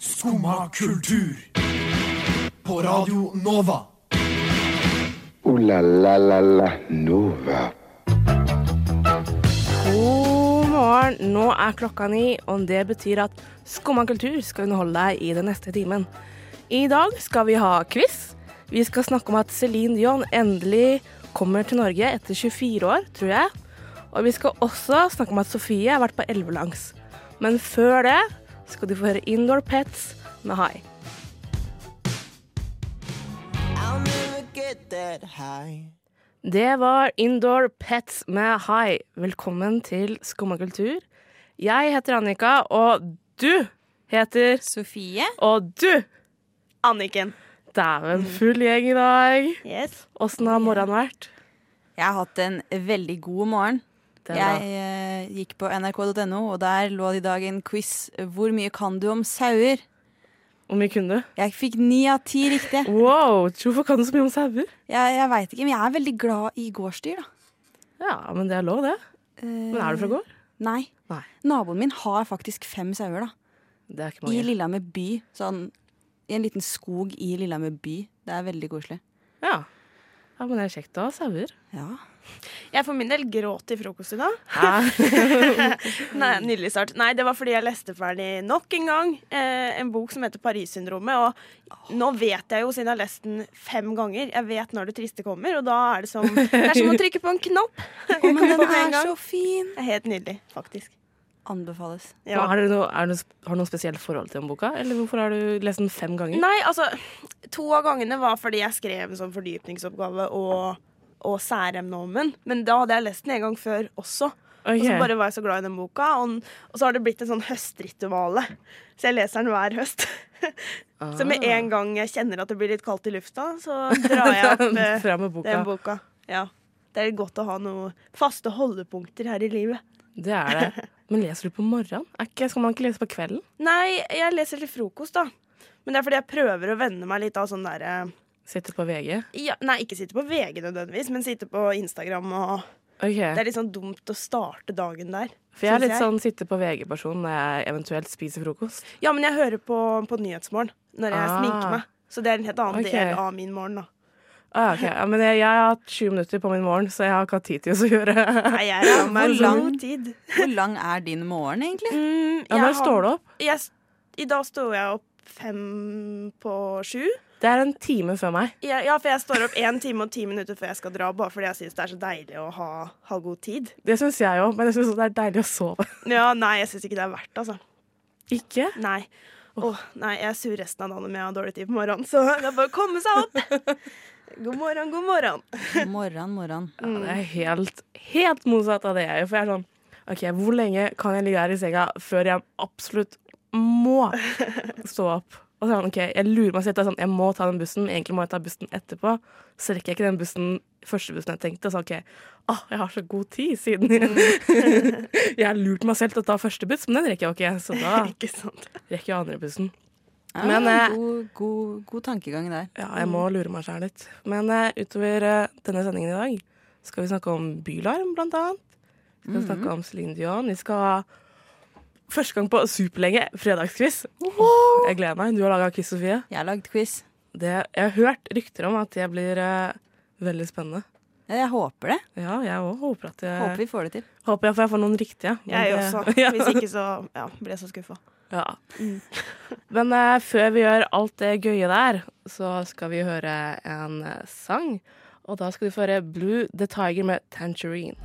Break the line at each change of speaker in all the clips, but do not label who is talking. Skumma kultur. På Radio Nova.
Ooh la la la la Nova.
God morgen. Nå er klokka ni, og det betyr at Skumma kultur skal underholde deg i den neste timen. I dag skal vi ha quiz. Vi skal snakke om at Céline Dion endelig kommer til Norge etter 24 år, tror jeg. Og vi skal også snakke om at Sofie har vært på elvelangs. Men før det skal du få høre Indoor Pets med High.
I'll never get that high.
Det var Indoor Pets med High. Velkommen til Skumma kultur. Jeg heter Annika, og du heter
Sofie.
Og du!
Anniken.
Dæven, full gjeng i dag.
Yes.
Åssen har morgenen vært?
Jeg har hatt en veldig god morgen.
Den
jeg
da.
eh, gikk på nrk.no, og der lå det i dag en quiz 'Hvor mye kan du om sauer?'
Hvor mye kunne du?
Jeg fikk ni av ti riktig.
Wow, hvorfor kan du så mye om sauer?
Jeg, jeg veit ikke, men jeg er veldig glad i gårdsdyr, da.
Ja, men det er lov, det.
Eh,
Men er du fra gård?
Nei.
Nei.
Naboen min har faktisk fem sauer, da.
Det er ikke
I
mange.
Lillehammer by. Sånn i en liten skog i Lillehammer by. Det er veldig koselig.
Ja. ja, men det er kjekt å ha sauer.
Ja.
Jeg for min del gråt i frokost i dag.
Hæ?
Nei, Nydelig start. Nei, det var fordi jeg leste ferdig nok en gang eh, en bok som heter Paris-syndromet. Og nå vet jeg jo, siden jeg har lest den fem ganger, jeg vet når det triste kommer. Og da er det som Det er som å trykke på en knapp.
Å, men den
På en
er
gang.
så fin!
Det er helt nydelig, faktisk.
Anbefales.
Ja.
Har du noe, er det noe, sp- har du noe spesielt forhold til den boka? Eller hvorfor har du lest den fem ganger?
Nei, altså To av gangene var fordi jeg skrev en sånn fordypningsoppgave og, og særemne om den. Men da hadde jeg lest den en gang før også. Og så
Ok.
bare var jeg så glad i den boka. Og, og så har det blitt en sånn høstrituale. Så jeg leser den hver høst. Så med
Ah.
en gang jeg kjenner at det blir litt kaldt i lufta, så drar jeg opp eh,
Fra med boka.
den boka. Ja. Det er godt å ha noen faste holdepunkter her i livet.
Det er det. Men leser du på morgenen? Er ikke, skal man ikke lese på kvelden?
Nei, jeg leser til frokost, da. Men det er fordi jeg prøver å venne meg litt av sånn derre
Sitter på VG?
ja, Nei, ikke sitte på VG nødvendigvis, men sitte på Instagram og Det
Ok,
er litt sånn dumt å starte dagen der.
For jeg er
synes
litt sånn sitte på VG-person når jeg eventuelt spiser frokost.
Ja, men jeg hører på, på Nyhetsmorgen når jeg
Ah.
sminker meg. Så det er en helt annen
Ok.
del av min morgen, da.
Ah, ok. ja, men jeg, jeg har hatt 20 minutter på min morgen, så jeg har ikke hatt tid til å gjøre
Nei, jeg har meg
Hvor
lang
lang-
tid.
Hvor lang er din morgen, egentlig?
Mm,
Ja, Når står du opp?
Jeg, s- I dag sto jeg opp fem på sju.
Det er en time før meg.
Jeg, ja, for jeg står opp én time og ti minutter før jeg skal dra, bare fordi jeg syns det er så deilig å ha, ha god tid.
Det syns jeg òg, men jeg syns det er deilig å sove.
Ja, nei, jeg syns ikke det er verdt altså.
Ikke?
Nei. Åh, nei, jeg er sur resten av dagen om jeg har dårlig tid på morgenen, så det er bare å komme seg opp. God morgen, god morgen.
Morgen, morgen.
Ja, det er helt, helt motsatt av det jeg gjør. For jeg er sånn OK, hvor lenge kan jeg ligge her i senga før jeg absolutt må stå opp? Og så er jeg sånn, ok, Jeg lurer meg selv til det er sånn, jeg må ta den bussen, egentlig må jeg ta bussen etterpå. Så rekker jeg ikke den bussen, første bussen jeg tenkte. Og så OK, åh, jeg har så god tid siden Jeg har lurt meg selv til å ta første buss, men den rekker jeg jo ikke. Så da
Ikke sant?
rekker jeg andre bussen.
Ja,
Men, eh,
god, god, god tankegang der.
Ja, jeg må lure meg sjæl litt. Men eh, utover eh, denne sendingen i dag skal vi snakke om bylarm, blant annet. Vi
Mhm.
skal snakke om Céline Dion. Vi skal ha første gang på superlenge fredagsquiz. Åh, Jeg gleder meg. Du har laga quiz, Sofie.
Jeg har lagd quiz.
Det, jeg har hørt rykter om at det blir eh, veldig spennende.
Ja, Jeg håper det.
Ja, jeg òg håper at jeg
Håper vi får det til.
håper jeg, for jeg får noen riktige. men
Jeg
det-
også.
Ja.
Hvis ikke så ja, blir jeg så skuffa.
Ja. Men eh, før vi gjør alt det gøye der, så skal vi høre en eh, sang. Og da skal du få høre Blue The Tiger med Tangerine.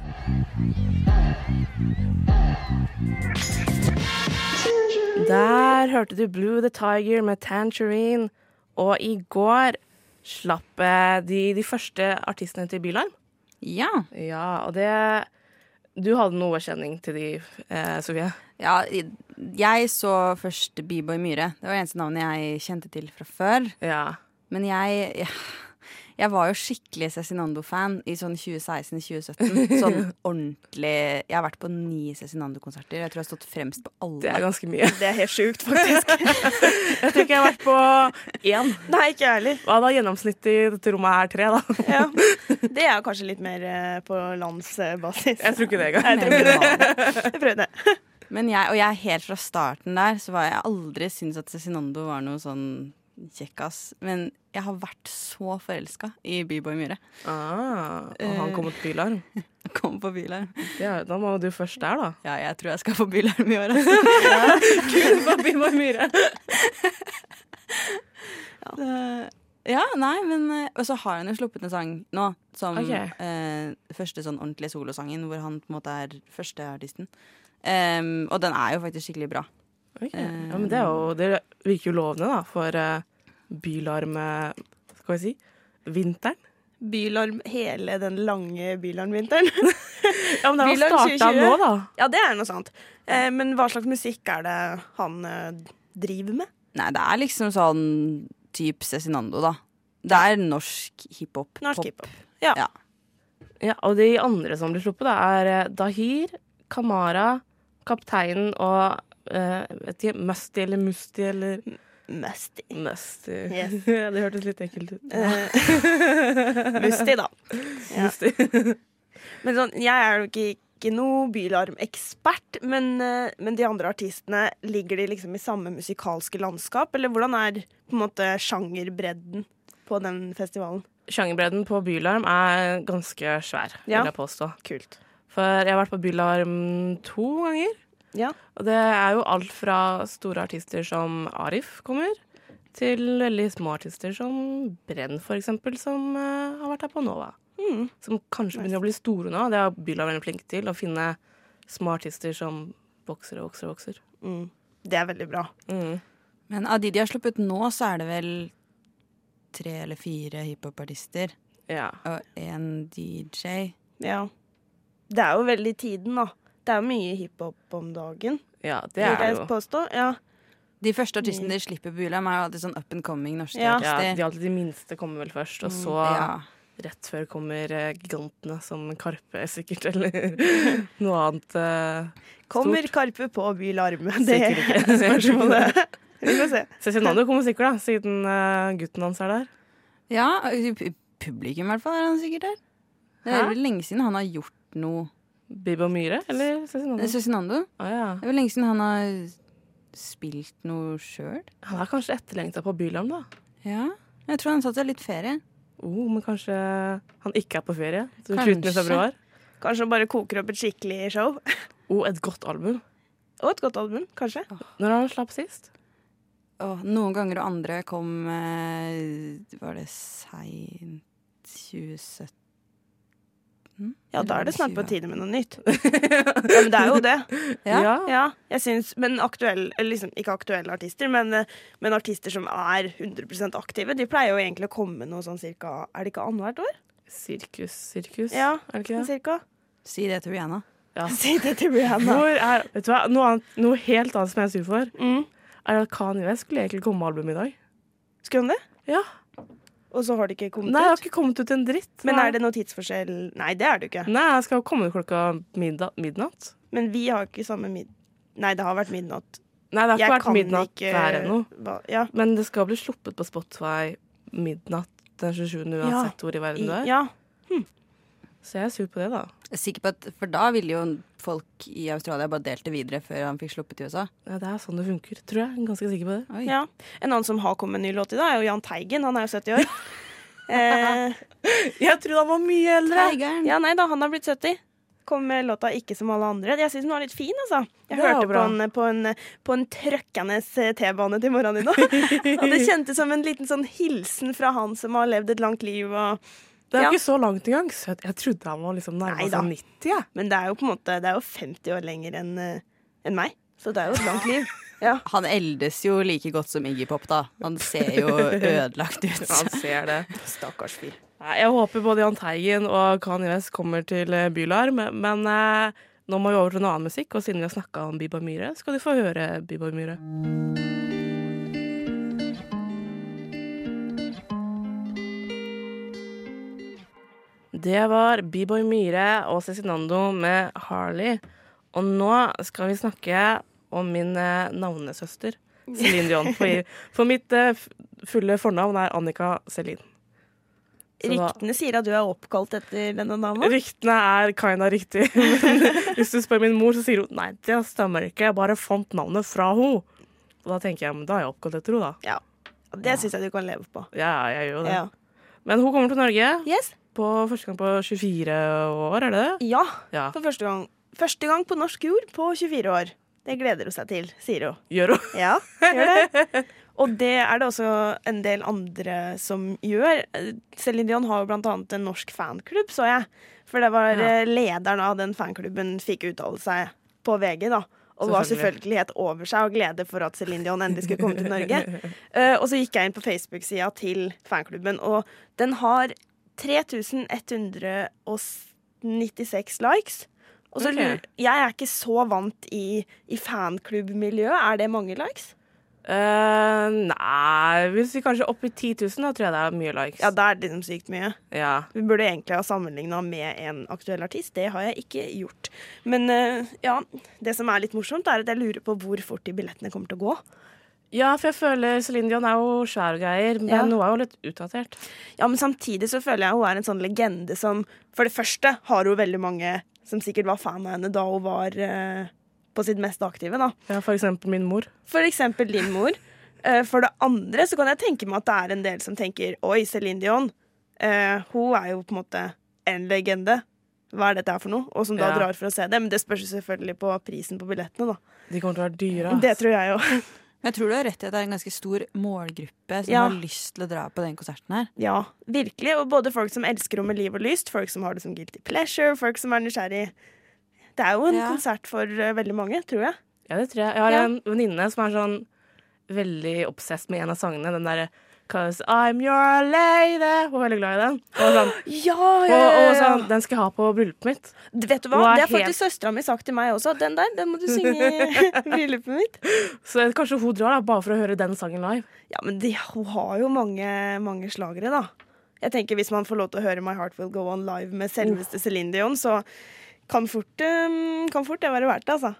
Der hørte du Blue The Tiger med Tangerine. Og i går slapp eh, de, de første artistene til Bylarm.
Ja.
Ja, og det Du hadde noe kjenning til de, eh, Sofie?
ja i- jeg så først B-Boy Myhre. Det var det eneste navnet jeg kjente til fra før.
Ja.
Men jeg jeg, jeg var jo skikkelig Cezinando-fan i sånn 2016-2017. Sånn ordentlig Jeg har vært på ni Cezinando-konserter. Jeg tror jeg har stått fremst på
Det er
alle.
ganske mye.
Det er helt sjukt, faktisk.
Jeg tror ikke jeg har vært på én.
Nei, ikke jeg heller.
Hva da gjennomsnittet i dette rommet er tre, da?
Ja. Det er kanskje litt mer eh, på landsbasis.
Jeg tror ikke det engang.
Nei, jeg tror ikke det. Jeg prøvde.
Men jeg, og jeg helt fra starten der, så var jeg aldri syntes at Cezinando var noe sånn kjekkas. Men jeg har vært så forelska i B-boy Myhre.
Ah, og han kom mot bylarm.
Kom på bilarm.
Ja, da må du først der, da.
Ja, jeg tror jeg skal få bilarm i år. Altså. Det- Ja, nei, men eh, Og så har han jo sluppet en sang nå, som
Ok.
eh, første sånn ordentlige solosangen, hvor han på en måte er førsteartisten. Em, og den er jo faktisk skikkelig bra.
Ok. Ja, men det, er jo, det virker jo lovende, da, for eh, bylarm eh, Skal vi si vinteren.
Bylarm hele den lange bylarmvinteren.
Ja, men det er jo
Bylarm
starta
2020.
nå, da.
ja, det er noe sant. Eh, men hva slags musikk er det han eh, driver med?
Nei, det er liksom sånn type Cezinando, da. Det er norsk hiphop.
Norsk
pop.
hiphop. Ja.
Ja.
Ja, og de andre som blir sluppet, da, er eh, Dahir, Kamara, Kapteinen og eh, vet ikke, Musty eller Musti eller
Musty.
Musty.
Yes.
det hørtes litt ekkelt ut.
Musty, da. Ja.
Musti.
Men sånn, jeg er jo ikke, ikke noe bylarmekspert, men, eh, men de andre artistene, ligger de liksom i samme musikalske landskap, eller hvordan er på en måte sjangerbredden på den festivalen?
Sjangerbredden på Bylarm er ganske svær,
Ja.
vil jeg påstå.
Kult.
For jeg har vært på Bylarm to ganger.
Ja.
Og det er jo alt fra store artister som Arif kommer, til veldig små artister som Brenn, for eksempel, som eh, har vært her på Nova. Som kanskje begynner å bli store nå. Det er Bylarm veldig flink til, å finne små artister som vokser og vokser og vokser.
Det er veldig bra.
Men av de de har sluppet nå, så er det vel tre eller fire hiphopartister
Ja.
og én DJ.
Ja. Det er jo veldig i tiden, da. Det er jo mye hiphop om dagen,
ja, det
vil
er det
jeg
jo.
påstå. Ja.
De første artistene de slipper på Ulam, er jo alltid sånn up and coming norske
Ja,
Ja.
de,
artister.
alltid de minste kommer vel først, og så
Ja.
rett før kommer eh, gigantene som Karpe sikkert, eller noe annet. eh,
Kommer Karpe på Bylarm? Det
Sikkert ikke.
er spørsmålet. Vi får se.
Cezinando kommer sikkert, da, siden eh, gutten hans er der.
ja, og pu- publikum i hvert fall er han sikkert der. Det er
Hæ?
vel lenge siden han har gjort noe. Eh,
Bibo Myhre eller Cezinando?
Cezinando.
Å ja.
Det er vel lenge siden han har spilt noe sjøl.
Han er kanskje etterlengta på Bylarm, da.
Ja. Jeg tror han satt seg litt ferie.
Oh, men kanskje han ikke er på ferie? Så
Kanskje.
slutten i februar.
Kanskje han bare koker opp et skikkelig show.
Oh, et godt album.
Og et godt album, kanskje.
Når har han slapp sist?
Åh, noen ganger og andre kom eh, Var det seint 2017?
Ja, da er det snart på
20.
tide med noe nytt. Ja, men det er jo det.
Ja.
Ja, jeg synes, Men aktuelle, eller liksom, ikke aktuelle artister, men, eh, men artister som er 100 aktive, de pleier jo egentlig å komme noe sånn cirka Er det ikke annethvert år?
Sirkus, sirkus.
Ja,
Er det ikke det?
Cirka?
Si det til Rihanna.
Ja.
Si det til Rihanna.
Hvor er, vet du hva, noe, annet, noe helt annet som jeg er sur for,
Mm.
er at Kanye West skulle egentlig komme med album i dag.
Skulle hun det?
Ja.
Og så har det ikke kommet
Nei, det har
ut?
ikke kommet ut en dritt.
Men er det noe tidsforskjell? Nei, det er det jo ikke.
Nei, jeg skal komme klokka midda- midnatt.
Men vi har ikke samme mid... Nei, det har vært midnatt.
Nei, det har ikke
Jeg
vært
kan
midnatt
ikke
der ennå.
hva- Ja.
Men det skal bli sluppet på Spotify midnatt den 27. uansett hvor i verden du er.
ja.
Så jeg er sur på det, da.
Jeg er sikker på at, For da ville jo folk i Australia bare delt det videre før han fikk sluppet i USA.
Ja, det er sånn det funker, tror jeg. Jeg er Ganske sikker på det.
Oi.
Ja. En annen som har kommet med en ny låt i dag, er jo Jahn Teigen. Han er jo 70 år. eh,
Jeg trodde han var mye eldre!
Tigeren.
ja, nei da, han har blitt 70. Kom med låta 'Ikke som alle andre'. Jeg syns den var litt fin, altså.
Det
Jeg
er
hørte
jo
på
bra.
den på en, på en trøkkende eh, T-bane til morgenen i dag. Og det kjentes som en liten sånn hilsen fra han som har levd et langt liv og
Det er
Ja.
jo ikke så langt engang. Så jeg- jeg trodde han var liksom nærmere
Neida.
seg 90. jeg.
Men det er jo på en måte Det er jo 50 år lenger enn eh, enn meg. Så det er jo et langt liv. Ja.
Han eldes jo like godt som Iggy Pop, da. Han ser jo ødelagt ut.
Han ser det.
Stakkars fyr.
Nei, Jeg håper både Jahn Teigen og Kanye West kommer til eh, Bylarm, men eh, nå må vi over til noe annen musikk, og siden vi har snakka om Biba Myhre, skal du få høre Biba Myhre. Det var B-boy Myhre og Cezinando med Harley. Og nå skal vi snakke om min eh, navnesøster Celine Dion. For, for mitt eh, f- fulle fornavn er Annika Celine. Så da-
Ryktene sier at du er oppkalt etter denne dama.
Ryktene er kinda riktig. Men hvis du spør min mor, så sier hun nei, det stemmer ikke, jeg bare fant navnet fra henne. Og da tenker jeg, men da er jeg oppkalt etter henne, da.
Ja. Det syns jeg du kan leve på.
Ja, jeg gjør jo det.
Ja.
Men hun kommer til Norge
Yes.
på første gang på 24 år, er det det?
ja.
Ja.
For første gang. Første gang på norsk jord på 24 år. Det gleder hun seg til, sier hun.
Gjør hun?
Ja, gjør det. Og det er det også en del andre som gjør. Celine Dion har jo blant annet en norsk fanklubb, så jeg. For det var
Ja.
eh, lederen av den fanklubben fikk uttale seg på VG, da. Og var selvfølgelig helt over seg av glede for at Celine Dion endelig skulle komme til Norge. Eh, og så gikk jeg inn på Facebook-sida til fanklubben, og den har 3196 likes. Og så
Ok.
lurer, Jeg er ikke så vant i, i fanklubbmiljø. Er det mange likes?
Eh, nei, hvis vi kanskje opp i 10 000, da tror jeg det er mye likes.
Ja, da er det liksom sykt mye.
Ja.
Vi burde egentlig ha sammenligna med en aktuell artist. Det har jeg ikke gjort. Men eh, ja, det som er litt morsomt, er at jeg lurer på hvor fort de billettene kommer til å gå.
ja, for jeg føler Celine Dion er jo skjær og greier, men
Ja.
hun er jo litt utdatert.
Ja, men samtidig så føler jeg hun er en sånn legende som For det første har hun veldig mange som sikkert var fan av henne da hun var eh, på sitt mest aktive, da.
Ja, for eksempel min mor.
For eksempel din mor. Eh, For det andre så kan jeg tenke meg at det er en del som tenker Oi, Céline Dion. eh, hun er jo på en måte en legende. Hva er dette her for noe? Og som da
Ja.
drar for å se det. Men det spørs jo selvfølgelig på prisen på billettene, da.
De kommer til å være dyre. ass.
Det tror jeg jo.
Men jeg tror du har rett i at det er en ganske stor målgruppe som
Ja.
har lyst til å dra på den konserten her.
Ja, virkelig. Og både folk som elsker henne med liv og lyst, folk som har det som guilty pleasure, folk som er nysgjerrig. Det er jo en
Ja.
konsert for eh, veldig mange, tror jeg.
Ja, det tror jeg. Jeg har
Ja.
en venninne som er sånn veldig obsess med en av sangene. Den derre 'Cause I'm your lady'. Hun er veldig glad i den. Og sånn,
Ja,
og, og sånn Den skal jeg ha på bryllupet mitt.
Vet du hva?
Hun er
Det har
helt-
faktisk søstera mi sagt til meg også. Den der, den må du synge i bryllupet mitt.
Så kanskje hun drar, da, bare for å høre den sangen live.
Ja, men de, hun har jo mange, mange slagere, da. Jeg tenker Hvis man får lov til å høre My Heart Will Go On live med
Mm.
selveste Celine Dion, så kan fort, eh, kan fort det være verdt det, altså.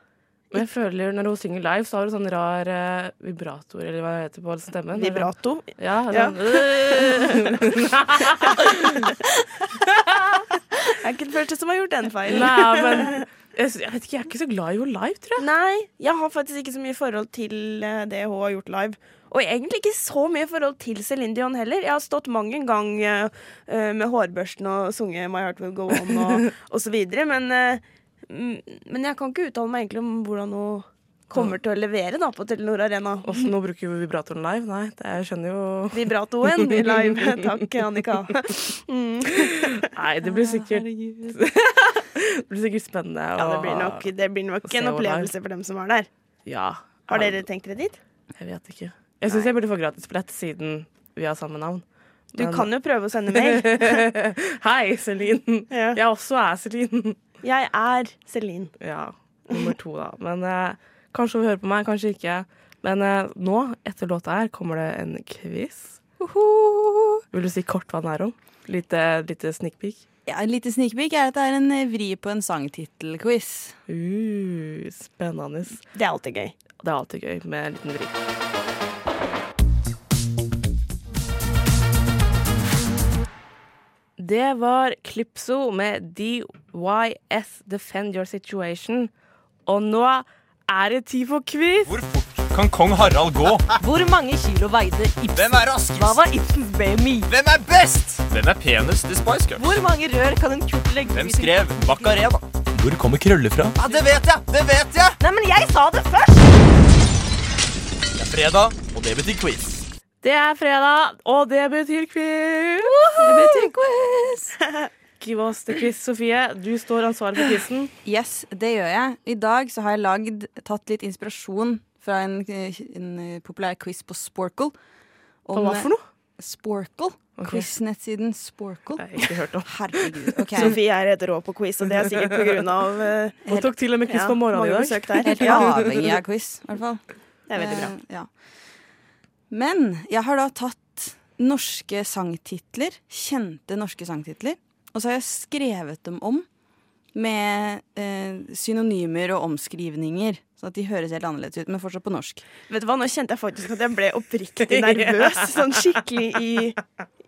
Men jeg føler når hun synger live, så har hun sånn rar eh, vibrator, eller hva det heter på stemmen.
Vibrato.
Ja,
Ja.
sånn, øh.
Jeg er ikke den første som har gjort den feilen.
Nei, men jeg, sy- jeg vet ikke, jeg er ikke så glad i henne live, tror jeg.
Nei, jeg har faktisk ikke så mye forhold til eh, det hun har gjort live. Og egentlig ikke så mye forhold til Celine Dion heller. Jeg har stått mang en gang eh, eh, med hårbørsten og sunget My Heart Will Go On og, og så videre, men, eh, mm, men jeg kan ikke uttale meg egentlig om hvordan hun kommer til å levere da, på Telenor Arena.
Og nå bruker hun vibratoren live. Nei, det, jeg skjønner jo
Vibratoen i live. Takk, Annika.
Nei, det blir sikkert Det blir sikkert spennende.
Ja, det
å-
blir nok, det blir nok
Se
en
henne
opplevelse for dem som var der.
Ja.
Har dere tenkt dere dit?
Jeg vet ikke. Jeg syns jeg burde få gratisbillett siden vi har samme navn.
Du
Men-
kan jo prøve å sende mail.
Hei, Celine!
Ja.
Jeg også er Celine.
Jeg er Celine.
Ja, nummer to, da. Men eh, kanskje hun hører på meg, kanskje ikke. Men eh, nå, etter låta her, kommer det en quiz. Vil du si kort hva den er om? Lite, lite sneak peek?
Ja, En liten snikepikk er at det er en eh, vri på en sangtittelquiz.
Uh, spennende.
Det er alltid gøy.
Det er alltid gøy med en liten vri. Det var Klipso med DYS Defend Your Situation. Og nå er det tid for quiz!
Hvor fort kan kong Harald gå?
Hvor mange kilo veide Ibsen?
Hvem er raskest?
Hva var Ibsens BMI?
Hvem er best? Hvem er penest i Spice Cup?
Hvor mange rør kan en kurt legge
Hvem
ut i-
skrev Macarena? Hvor kommer krøller fra? Ja, Det vet jeg! Det vet jeg!
Nei, men jeg sa det først!
Det er fredag, og det betyr quiz.
Det er fredag, og det betyr quiz!
Det betyr quiz!
Give oss the quiz, Sofie. Du står ansvarlig for quizen.
Yes, det gjør jeg. I dag så har jeg lagd, tatt litt inspirasjon fra en, eh, en eh, populær quiz på Sporkle. Om,
Hva for noe?
eh, Sporkle. Quiznettsiden Sporkle.
Jeg har ikke hørt om.
Herregud. ok.
Sofie er helt rå på quiz, og det er sikkert pga. Uh,
Hun tok til og med quiz på morgenen
mange
i dag.
besøk der.
Helt
Ja,
avhengig av quiz, i hvert fall.
det er veldig bra.
Eh, ja. Men jeg har da tatt norske sangtitler, kjente norske sangtitler, og så har jeg skrevet dem om med eh, synonymer og omskrivninger. Sånn at de høres helt annerledes ut, men fortsatt på norsk.
Vet du hva, Nå kjente jeg faktisk at jeg ble oppriktig nervøs. Sånn skikkelig i,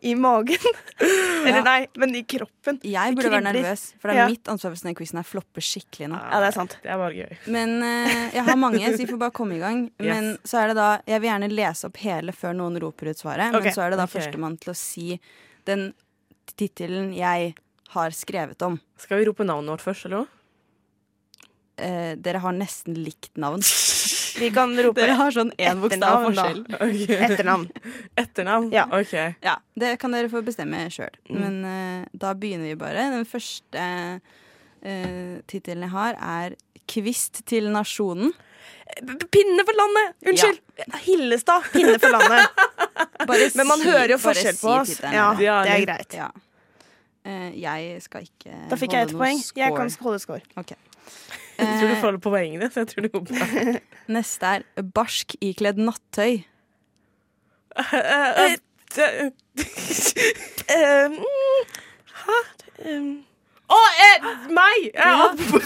i magen. Eller nei, men i kroppen.
Jeg burde være
kribler.
nervøs, for det er
Ja. Ah.
mitt ansvar hvis denne quizen her flopper skikkelig nå.
Ja, det er sant.
Det er bare gøy.
Men eh, jeg har mange, så vi får bare komme i gang.
Yes.
Men så er det da Jeg vil gjerne lese opp hele før noen roper ut svaret,
Ok.
men så er det da
Ok.
førstemann til å si den tittelen jeg har skrevet om.
Skal vi rope navnet vårt først, eller noe?
Eh, dere har nesten likt navn.
Vi kan rope
Dere har sånn én bokstav
Etternavn, da.
forskjell.
Ok.
etternavn.
Etternavn?
Ja.
OK.
Ja, Det kan dere få bestemme sjøl.
Mm.
Men eh, da begynner vi bare. Den første uh, tittelen jeg har, er 'Kvist til nasjonen'.
P- Pinne for landet! Unnskyld! Hillestad. Pinne for landet.
Bare
Men man hører jo
bare
forskjell på
si
oss.
tittelen,
Ja,
eller?
det
Ja,
er
litt.
greit.
Ja. Eh, jeg skal ikke
Da fikk jeg ett
holde noe
poeng. Jeg
score.
kan holde score.
Jeg tror du får på poengene, så jeg tror det går bra.
Eh, Neste er barsk ikledd nattøy.
Eh, eh,
Eh, mm, Hæ? Um,
Å, eh, meg! Jeg hadde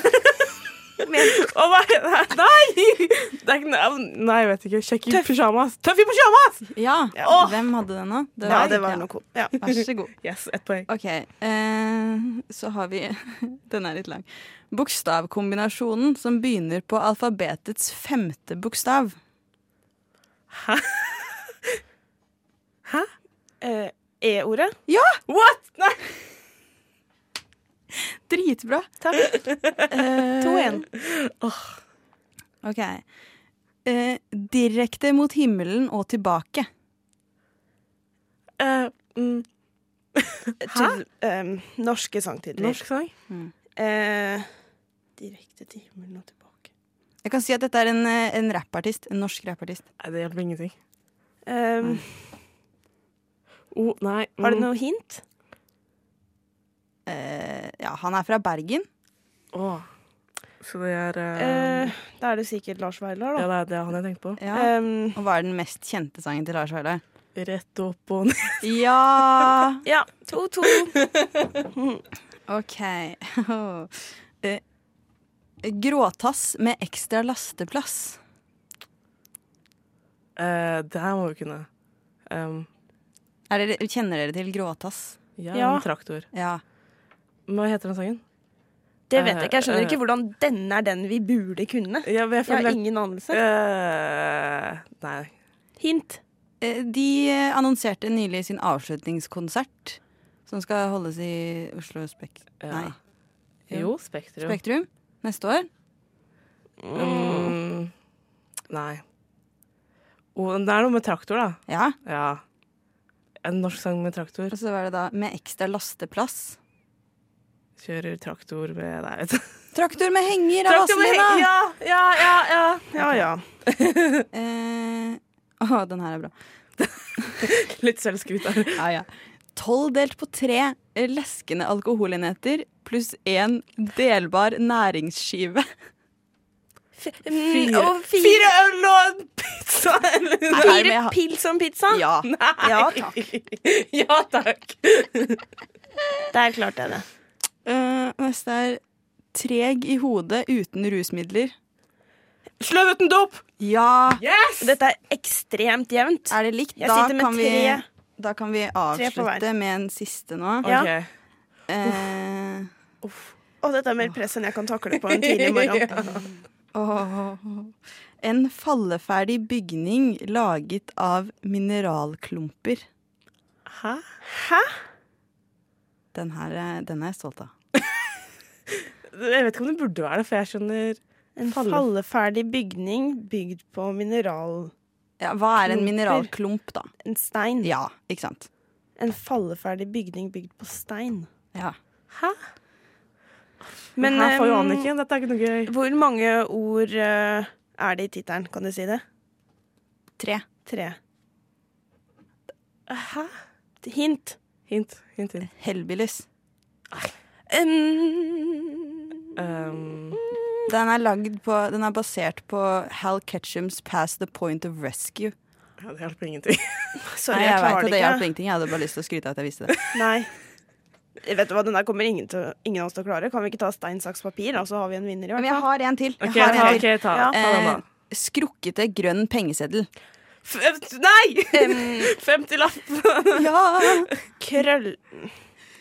Å, nei, nei, nei! Det er ikke navn. Nei, jeg vet ikke. Sjekk i pysjamas. Tøff i pysjamas!
Ja,
Ja.
Hvem hadde den, da? Det
Ja, det var
ja.
noe cool. Ja.
Vær så god.
Yes, ett poeng.
OK, eh, så har vi Den er litt lang. Bokstavkombinasjonen som begynner på alfabetets femte bokstav.
Eh, E-ordet.
What?! Nei!
Dritbra!
Takk.
Eh,
2-1.
OK. Eh, direkte mot himmelen og tilbake.
Eh, mm,
Til, ehm, norske sangtitler.
norsk sang?
Eh, direkte til himmelen og tilbake.
Jeg kan si at dette er en, eh, en rappartist. En norsk rappartist.
Nei, det hjelper ingenting.
Ehm,
Å, nei. Mm.
Har du noe hint?
Eh, ja, han er fra Bergen.
Å. Så det er eh,
Eh, da er det sikkert Lars Vaular,
Ja,
da.
det er det er han jeg tenkte på.
Ja.
Ehm,
Og hva er den mest kjente sangen til Lars Vaular?
Rett opp og ned.
Ja!
ja. 2-2.
OK. Eh, Gråtass med ekstra lasteplass.
Eh, det her må vi kunne. Um,
Er dere, kjenner dere til gråtass?
ja,
Ja.
en traktor.
Ja.
Men Hva heter den sangen?
Det vet jeg ikke. Jeg skjønner
Eh,
ikke hvordan denne er den vi burde kunne.
Ja, men jeg
Jeg har
føler
ingen anelse.
Eh, Nei.
Hint.
Eh, De eh, annonserte nylig sin avslutningskonsert, som skal holdes i Oslo Spek
Ja.
Nei,
Jo, Spektrum.
Spektrum neste år.
Mm. Nei. Å, det er noe med traktor, da.
Ja.
Ja. En norsk sang med traktor.
Og så var det da med ekstra lasteplass.
Kjører traktor med Nei, vet du.
Traktor med henger av Vazelina!
Ja, ja, ja. ja. ja, ja.
Eh, å, den her er bra.
Litt selvskryt der.
Ja, ja. Tolv delt på tre eh, leskende alkoholenheter pluss én delbar næringsskive.
Mm, og fire,
øl og en pizza! Eller
Nei, men jeg
fire
har-
pils om pizza?
Ja.
Nei!
Ja, takk.
Ja takk.
Der klarte jeg det.
Eh, neste er treg i hodet uten rusmidler.
Sløv uten dop!
Ja!
Yes!
Dette er ekstremt jevnt.
Er det likt?
Jeg
Da
sitter med
kan, vi,
tre.
da kan vi avslutte
hver.
med en siste nå.
Ok.
Ja.
Eh,
Og dette er mer press enn jeg kan takle på en tidlig morgen.
åh. En falleferdig bygning laget av mineralklumper.
Hæ?
Den her er- den er jeg stolt av.
Jeg vet ikke om det burde være det, for jeg skjønner
En
Falle-
falleferdig bygning bygd på mineral...
Ja, hva er en
Klumper.
mineralklump, da?
En stein.
Ja, ikke sant?
En falleferdig bygning bygd på stein.
Ja.
Hæ? Men, her får jo Anniken. Dette er ikke noe
eh,
gøy.
hvor mange ord eh, er det i tittelen? Kan du si det?
Tre.
Tre. Hæ? Hint.
Hint. Hint, hint.
Hellbillies.
Um,
Um,
Den er, lagd på, den er basert på Hal Ketchums 'Past the Point of Rescue'.
ja, det hjelper ingenting.
sorry,
Nei,
jeg
jeg vet
klarer
at det
det
hjalp
ikke.
ingenting. Jeg hadde bare lyst til å skryte av at jeg visste det.
Nei. Vet du hva, Den der kommer ingen, til, ingen av oss til å klare. Kan vi ikke ta stein, saks, papir, og så har vi en vinner? i
Men
hvert
jeg
fall?
har en til. Jeg
OK,
har
ta,
en til.
ok, ta, ta den, da.
Eh, Skrukkete grønn pengeseddel.
F eh, nei! 50-lapp.
Ja!
Krøll...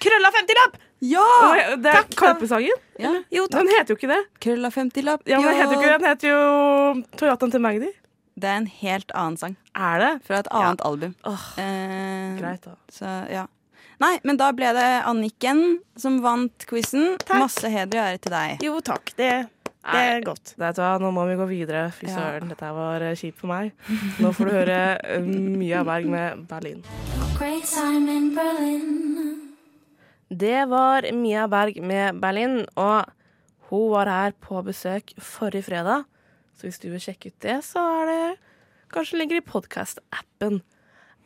Krølla 50-lapp!
Ja!
Oi, Det er Karpe-sangen.
ja.
Jo, Den heter jo ikke det.
Krølla 50-lapp.
Ja, men Den heter jo ikke
Ja.
det. Den heter jo Toyotaen til Magdi.
Det er en helt annen sang.
Er det?
Fra et annet album.
Åh,
Eh,
Mm. Greit, da.
Så, ja. Nei, men da ble det Anniken som vant quizen. Masse heder og ære til deg.
Jo takk, det, det
Nei.
er godt.
Vet du hva, Nå må vi gå videre. Fy
Ja.
søren, dette her var eh, kjipt for meg. Nå får du høre eh, Mia Berg med Berlin.
Great time in Berlin.
Det var Mia Berg med Berlin, og hun var her på besøk forrige fredag. Så hvis du vil sjekke ut det, så er det kanskje det ligger i podkast-appen.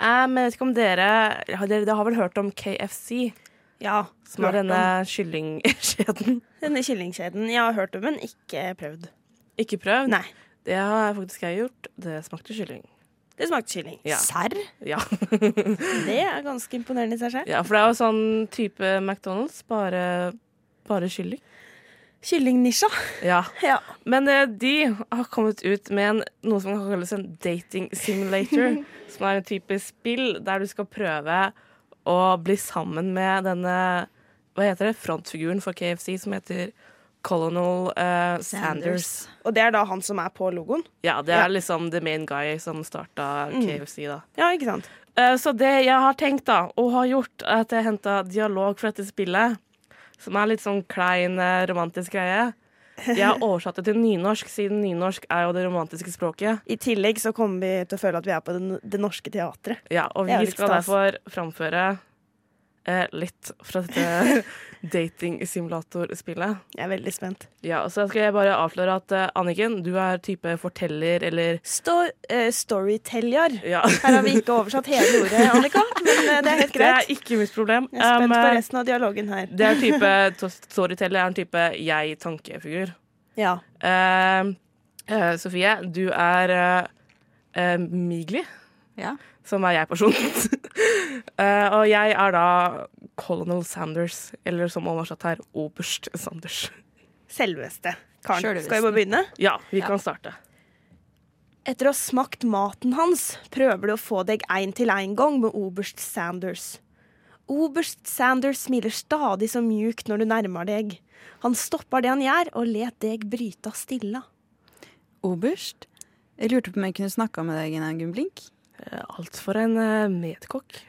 Eh, Men jeg vet ikke om dere har Dere dere har vel hørt om KFC,
Ja.
som er
hørt om
denne kyllingkjeden?
Denne kyllingkjeden. Jeg har hørt om den, ikke prøvd.
Ikke prøvd?
Nei.
Det har jeg faktisk jeg gjort. Det smakte kylling.
Det smakte kylling.
Ja.
Serr?
Ja.
Det er ganske imponerende i seg selv.
ja, for det er jo sånn type McDonald's, bare, bare kylling.
Kyllingnisja.
Ja.
Ja.
Men eh, de har kommet ut med en, noe som kan kalles en dating simulator. som er en type spill der du skal prøve å bli sammen med denne hva heter det, frontfiguren for KFC som heter Colonel eh, Sanders.
Og det er da han som er på logoen.
Ja, det er
Ja. Mm.
liksom the main guy som starta KFC, da.
Ja, ikke sant?
Eh, Så det jeg har tenkt da, og har gjort, er at jeg henta dialog fra dette spillet, som er litt sånn klein, eh, romantisk greie. Jeg har oversatt det til nynorsk, siden nynorsk er jo det romantiske språket.
I tillegg så kommer vi til å føle at vi er på den, det norske teatret.
Ja, og
Det er
vi
litt
skal
stas.
derfor framføre eh, litt fra dette datingsimulatorspillet.
Jeg er veldig spent.
Ja, og så skal jeg bare avsløre at eh, Anniken, du er type forteller eller
Sto eh, storyteller.
Ja.
Her har vi ikke oversatt hele ordet, Annika, men eh, det er helt
Det er
greit.
ikke mitt problem.
Jeg er spent på
Um,
resten av dialogen her.
det er type, Storyteller er en type jeg-tankefigur.
Ja.
Eh, eh, Sofie, du er eh, eh, Migli,
Ja.
som er jeg-personen. Eh, og jeg er da Colonel Sanders, eller som oversatt her, oberst Sanders.
Selveste. Karen,
Sjølvesten.
skal vi bare begynne?
Ja, vi kan starte.
Etter å ha smakt maten hans, prøver du å få deg en til en gang med oberst Sanders. Oberst Sanders smiler stadig så mjukt når du nærmer deg. Han stopper det han gjør, og let deg bryta stilla.
Oberst? Jeg lurte på om jeg kunne snakka med deg, Gina Gunn Blink.
Eh, Alt for en eh, medkokk.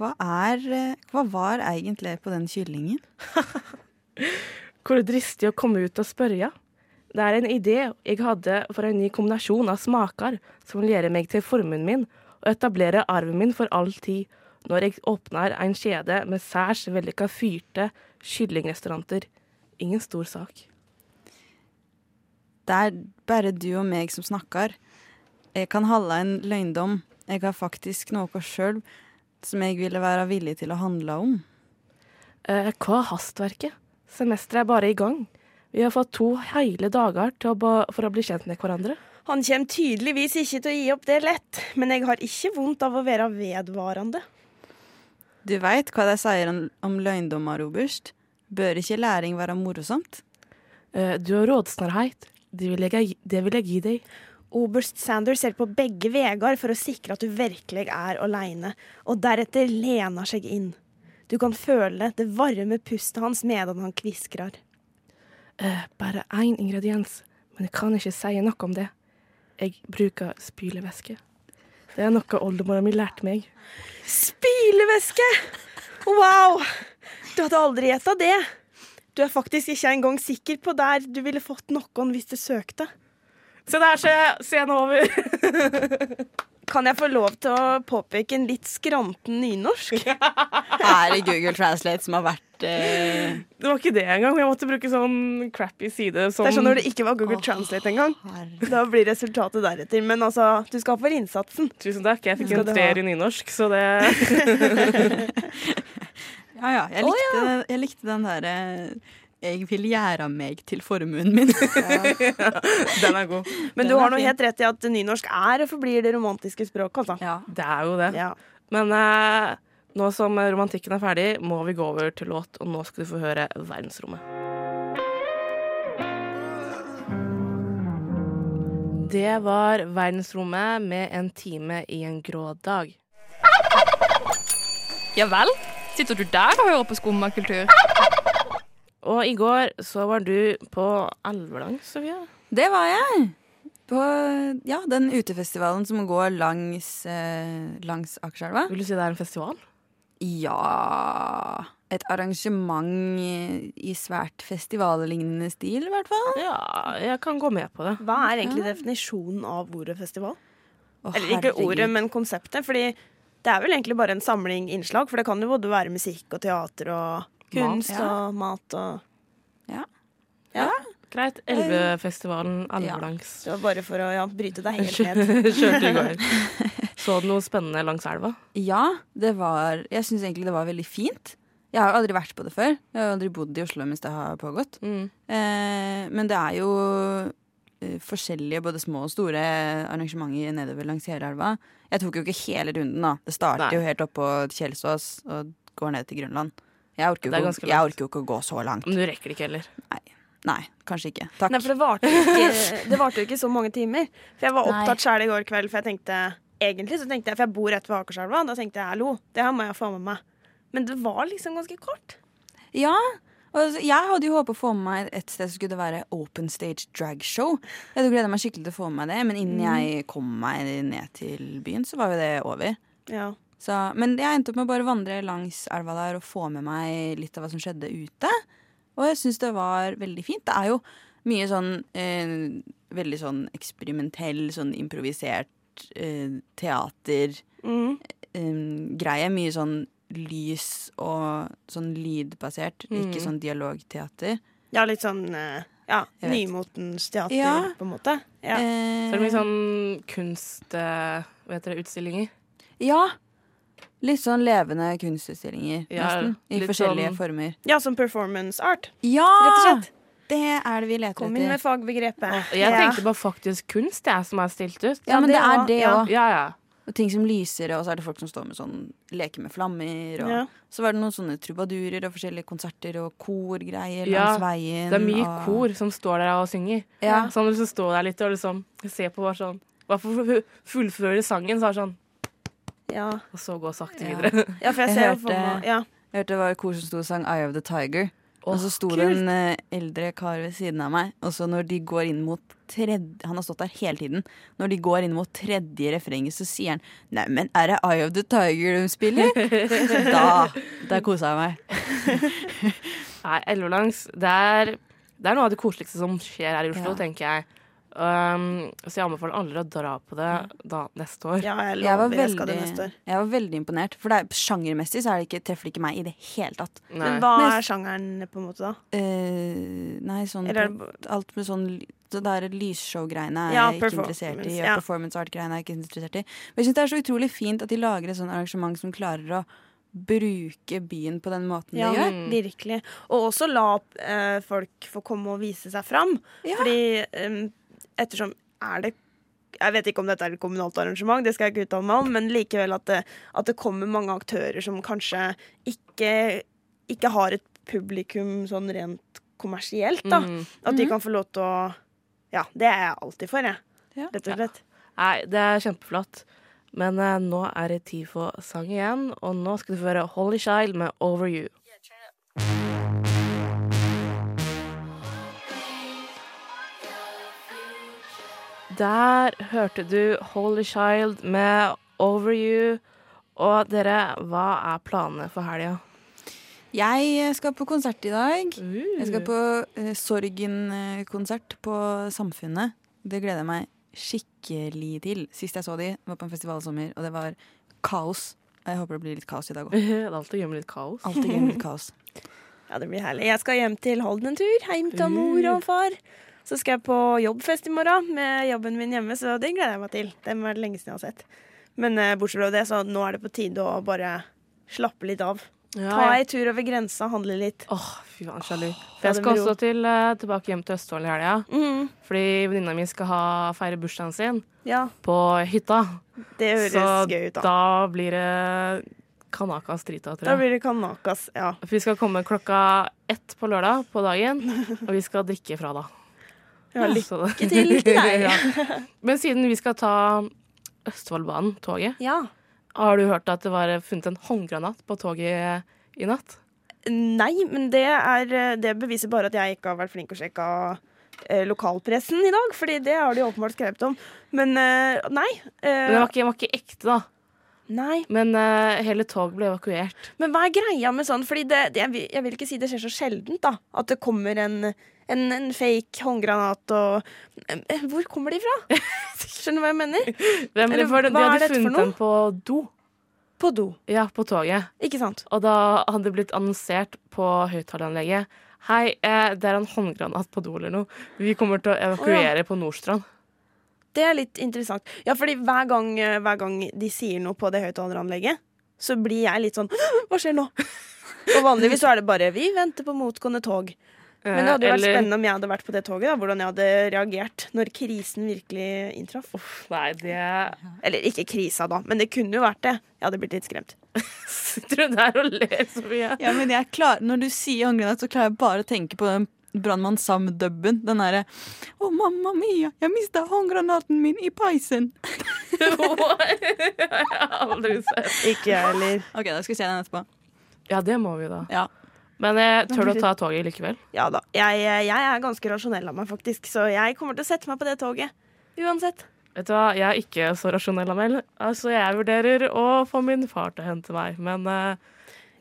Hva er eh, Hva var egentlig på den kyllingen?
Hvor dristig å komme ut og spørre. Det er en idé jeg hadde for en ny kombinasjon av smaker som vil gjøre meg til formuen min og etablere arven min for all tid, når jeg åpner en kjede med særs vellykka fyrte kyllingrestauranter. Ingen stor sak.
Det er bare du og meg som snakkar. Jeg kan holde en løgndom. Jeg har faktisk noe sjøl som jeg ville være villig til å handle om.
Eh, hva er hastverket? Semesteret er bare i gang. Vi har fått to hele dager til å ba- for å bli kjent med hverandre.
Han kommer tydeligvis ikke til å gi opp det lett, men jeg har ikke vondt av å være vedvarende.
Du veit hva de sier om, om løgndommer, oberst? Bør ikke læring være morosamt?
Eh, du har rådsnarrhet. Det vil jeg, gi- det vil jeg gi deg.
Oberst Sanders ser på begge veier for å sikre at du virkelig er aleine, og deretter lener seg inn. Du kan føle det varme pustet hans medan han kviskrer.
Eh, bare én ingrediens, men jeg kan ikke si noe om det. Jeg bruker spylevæske. Det er noe oldemora mi lærte meg.
Spylevæske! Wow! Du hadde aldri gjetta det. Du er faktisk ikke engang sikker på der du ville fått noen hvis du søkte.
Se der, se! Scenen over.
Kan jeg få lov til å påpeke en litt skranten nynorsk?
Er det Google Translate som har vært eh,
Det var ikke det engang. Jeg måtte bruke sånn crappy side som
Det er sånn når det ikke var Google Translate engang.
her?
Da blir resultatet deretter. Men altså, du skal for innsatsen.
Tusen takk. Jeg fikk
Skal
en
du ha?
treer i nynorsk, så det
Ja ja, jeg likte, den- Jeg likte den derre Jeg vil gjøre meg til formuen min.
Den er god.
Men
Den
du
er
har noe
fin.
helt rett i at nynorsk er og forblir det romantiske språket, altså.
ja.
Det er jo det.
Ja.
Men eh, Nå som romantikken er ferdig, må vi gå over til låt, og nå skal du få høre Verdensrommet. Det var Verdensrommet med en time i en grå dag.
Ja vel? Sitter du der og hører på skummakultur?
Og i går så var du på Alvelang, Sofia.
Det var jeg. På ja, den utefestivalen som går langs, eh, langs Akerselva.
Vil du si det er en festival?
Ja Et arrangement i- i svært festivallignende stil, i hvert fall.
Ja, jeg kan gå med på det.
Hva er egentlig definisjonen av ordet festival?
Å,
Eller ikke
herregud.
ordet, men konseptet. Fordi det er vel egentlig bare en samling innslag, for det kan jo både være musikk og teater og kunst
ja.
og mat og
Ja.
Ja.
Greit. Elvefestivalen Alvelangs.
Det var bare for å ja, bryte deg helt ned.
Kjørte i går. Så du noe spennende langs elva?
Ja, det var Jeg syns egentlig det var veldig fint. Jeg har jo aldri vært på det før. Jeg har jo aldri bodd i Oslo mens det har pågått.
Mm.
Eh, men det er jo eh, forskjellige, både små og store, arrangementer nedover langs hele elva. Jeg tok jo ikke hele runden, da. Det starter
Nei.
jo helt oppå Kjelsås og går ned til Grønland. Jeg orker
Det er
jo
ganske
ikke, jeg orker jo ikke å gå så langt.
Men du rekker det ikke heller.
Nei, kanskje ikke. Takk.
Nei, for det varte jo ikke, det varte jo ikke så mange timer. For jeg var
Nei.
opptatt sjæl i går kveld, for jeg tenkte egentlig så tenkte jeg, for jeg bor rett ved Akerselva, da tenkte jeg hallo, det her må jeg få med meg. Men det var liksom ganske kort.
Ja. Og så- jeg hadde jo håpet å få med meg et sted så skulle det være open stage drag show. Jeg hadde gledet meg skikkelig til å få med meg det, men innen jeg kom meg ned til byen, så var jo det over.
Ja.
Så, men jeg endte opp med å bare vandre langs elva der og få med meg litt av hva som skjedde ute. Og jeg syns det var veldig fint. Det er jo mye sånn eh, veldig sånn eksperimentell, sånn improvisert eh, teater
Mm.
um, greie. Mye sånn lys og sånn lydbasert,
Mm.
ikke sånn dialogteater.
Ja, litt sånn eh, ja,
Jeg vet.
nymotens teater,
Ja.
på en måte. Ja.
Så
Eh,
er det mye sånn kunst... eh, Hva heter det? Utstillinger?
ja. Litt sånn levende kunstutstillinger,
Ja,
nesten. I
litt
forskjellige
sånn-
former.
ja, som performance art,
Ja!
rett og slett.
Det er det vi leter
Kom inn med
etter.
fagbegrepet.
Jeg tenkte bare faktisk kunst, jeg, som er stilt ut.
Ja, men det er
også,
det
ja.
òg.
Ja, ja.
Og ting som lyser, og så er det folk som står med sånn leker med flammer. Og
Ja.
så var det noen sånne trubadurer og forskjellige konserter og korgreier
Ja,
langs veien.
Det er mye
og...
kor som står der og synger.
Ja.
Sånn hvis du står der litt og liksom ser på bare sånn Bare for å fullføre sangen, så er det sånn
Ja.
Og så gå sakte
Ja.
videre.
ja, for jeg
Jeg
ser jo for
hørte-
meg ja.
Jeg hørte det var et kor som sto og sang Eye of the Tiger.
Åh,
og så sto det
kult.
en eh, eldre kar ved siden av meg. Og så når de går inn mot tredje Han har stått der hele tiden. Når de går inn mot tredje refrenget, så sier han Neimen, er det Eye of the Tiger de spiller? da Der kosa jeg meg.
Nei, Elvelangs, det er, det er noe av det koseligste som skjer her i Oslo,
Ja.
tenker jeg. Um, så jeg anbefaler alle å dra på det da, neste år.
ja, jeg
Jeg var,
lover jeg skal
veldig,
det neste år.
jeg var veldig imponert. For det er, sjangermessig så er det ikke, treffer det ikke meg i det hele tatt.
Nei.
Men hva
Men-
er sjangeren, på en måte, da?
Eh, nei, sånn
Eller er det
på- Alt med sånn ly- det der lysshow-greiene er
Ja,
jeg ikke
performance,
interessert i. Og
ja.
performance art-greiene er jeg ikke interessert i. Men jeg syns det er så utrolig fint at de lager et sånt arrangement som klarer å bruke byen på den måten
Ja,
de gjør.
virkelig. Og også la eh, folk få komme og vise seg fram.
Ja.
Fordi em, ettersom er det jeg vet ikke om dette er et kommunalt arrangement, det skal jeg ikke uttale meg om, men likevel at det, at det kommer mange aktører som kanskje ikke, ikke har et publikum sånn rent kommersielt. Da. At
Mhm.
de kan få lov til å Ja, det er jeg alltid for, jeg.
Ja.
Rett og slett.
Nei, det er kjempeflott. Men eh, nå er det tid for sang igjen, og nå skal du få høre Holy Child med Over You. Der hørte du Holy Child med Over You. Og dere, hva er planene for helga?
Jeg eh, skal på konsert i dag. Jeg skal på
Uh.
eh, Sorgen-konsert på Samfunnet. Det gleder jeg meg skikkelig til. Sist jeg så de, var på en festival i sommer, og det var kaos. Jeg håper det blir litt kaos i dag òg.
Det er alltid gøy med litt kaos.
Alltid gøy med litt kaos.
Ja, det blir herlig. Jeg skal hjem til Holden en tur. Hjem til mor og far. Så skal jeg på jobbfest i morgen med jobben min hjemme, så det gleder jeg meg til. Det må være det lenge siden jeg har sett. Men eh, bortsett fra det, så nå er det på tide å bare slappe litt av.
Ja,
Ta
jeg-
ei tur over grensa, handle litt.
Åh, fy faen, sjalu. For jeg
det
skal
med ro.
også til, eh, tilbake hjem til Østfold i helga.
Mm,
Fordi venninna mi skal ha, feire bursdagen sin
ja,
på hytta.
det høres
Så
gøy ut, da.
da blir det Kanaka Strita, tror jeg.
Da blir det kanakas. Ja.
For Vi skal komme klokka ett på lørdag på dagen, og vi skal drikke fra da.
Ja,
Så det-
lykke til til deg.
Ja. Men siden vi skal ta Østfoldbanen, toget,
Ja.
har du hørt at det var funnet en håndgranat på toget i natt?
Nei, men det, er, eh, det beviser bare at jeg ikke har vært flink å sjekke eh, lokalpressen i dag. Fordi det har de åpenbart skrevet om. Men eh, nei. eh,
Men den var ikke, den var ikke ekte, da.
nei.
Men eh, hele toget ble evakuert.
Men hva er greia med sånn? Fordi det, det, jeg, vil, jeg vil ikke si det skjer så sjeldent, da. At det kommer en, en, en fake håndgranat og Eh, Hvor kommer de fra? Skjønner du hva jeg mener?
Hvem,
Eller
for de,
hva
de
er
hadde
dette for
funnet
noe?
den på do.
På do.
Ja, på toget.
Ikke sant?
Og da hadde det blitt annonsert på høyttaleranlegget Hei, eh, det er en håndgranat på do eller noe. Vi kommer til å evakuere på Nordstrand.
Det er litt interessant. Ja, fordi hver gang, eh, hver gang de sier noe på det høyttaleranlegget, så blir jeg litt sånn Hva skjer nå? Og vanligvis så er det bare Vi venter på motgående tog. Men det hadde jo vært
Eh, Eller-
spennende om jeg hadde vært på det toget. da Hvordan jeg hadde reagert når krisen virkelig inntraff.
Uff, nei, det
Eller ikke krisa, da, men det kunne jo vært det. Jeg hadde blitt litt skremt.
Sitter du der og ler så mye?
Ja, men jeg klar, Når du sier håndgranat, så klarer jeg bare å tenke på den Brannmann Sam-dubben. Den derre Å, mamma mia, jeg mista håndgranaten min i peisen.
Aldri sett.
Ikke jeg heller.
OK, da skal vi se den etterpå.
Ja, det må vi da.
Ja.
Men eh, tør du å ta toget likevel?
Ja da. Jeg, eh, jeg er ganske rasjonell av meg, faktisk, så jeg kommer til å sette meg på det toget. Uansett.
Vet du hva, jeg er ikke så rasjonell av meg, altså jeg vurderer å få min far til å hente meg. Men eh,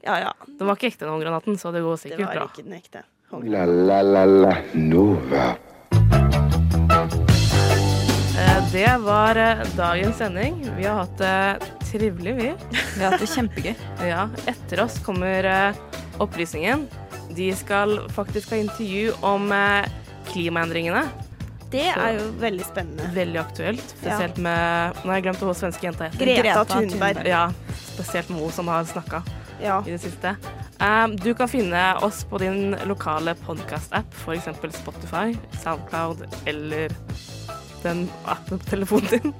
Ja ja.
den var ikke ekte, den håndgranaten, så det går
Det
sikkert
var
bra.
ikke den ekte.
Ooh la la la la Nova.
Eh, det var eh, dagens sending. Vi har hatt det trivelig, vi.
Vi har hatt det kjempegøy.
Ja, etter oss kommer eh, opplysningen. De skal faktisk ha intervju om eh, klimaendringene.
Det
Så-
er jo veldig spennende.
Veldig aktuelt, spesielt med Nå har jeg glemt hva hun svenske jenta heter.
Greta,
Greta
Thunberg.
Thunberg.
Ja, spesielt med hun som har snakka
Ja.
i det siste. Um, du kan finne oss på din lokale podkast-app, f.eks. Spotify, Soundcloud eller den appen på telefonen din.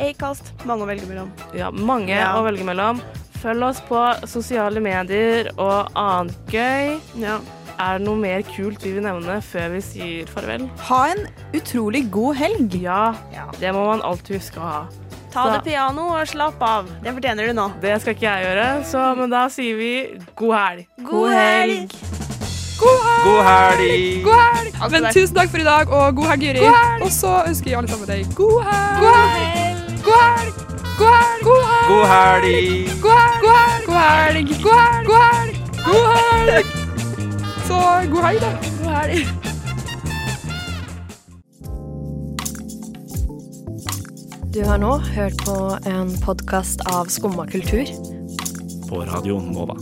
Acast. Mange å velge mellom.
Ja, mange
Ja.
å velge mellom. Følg oss på sosiale medier og annet gøy.
Ja.
Er det noe mer kult vi vil nevne før vi sier farvel?
Ha en utrolig god helg.
Ja,
Ja.
det må man alltid huske å ha.
Ta
Så-
det piano og slapp av. Det fortjener du nå.
Det skal ikke jeg gjøre, så, men da sier vi god helg.
God helg!
God helg!
God helg! Men tusen takk for i dag, og god helg, Juri. Og så ønsker vi alle sammen deg god helg! God helg! God helg! God helg! God helg!
God helg!
God helg! God helg! God helg! God helg! God helg! Så god helg, da. God helg.
Du har nå hørt på en podkast av Skumma kultur.
På Radio Nova.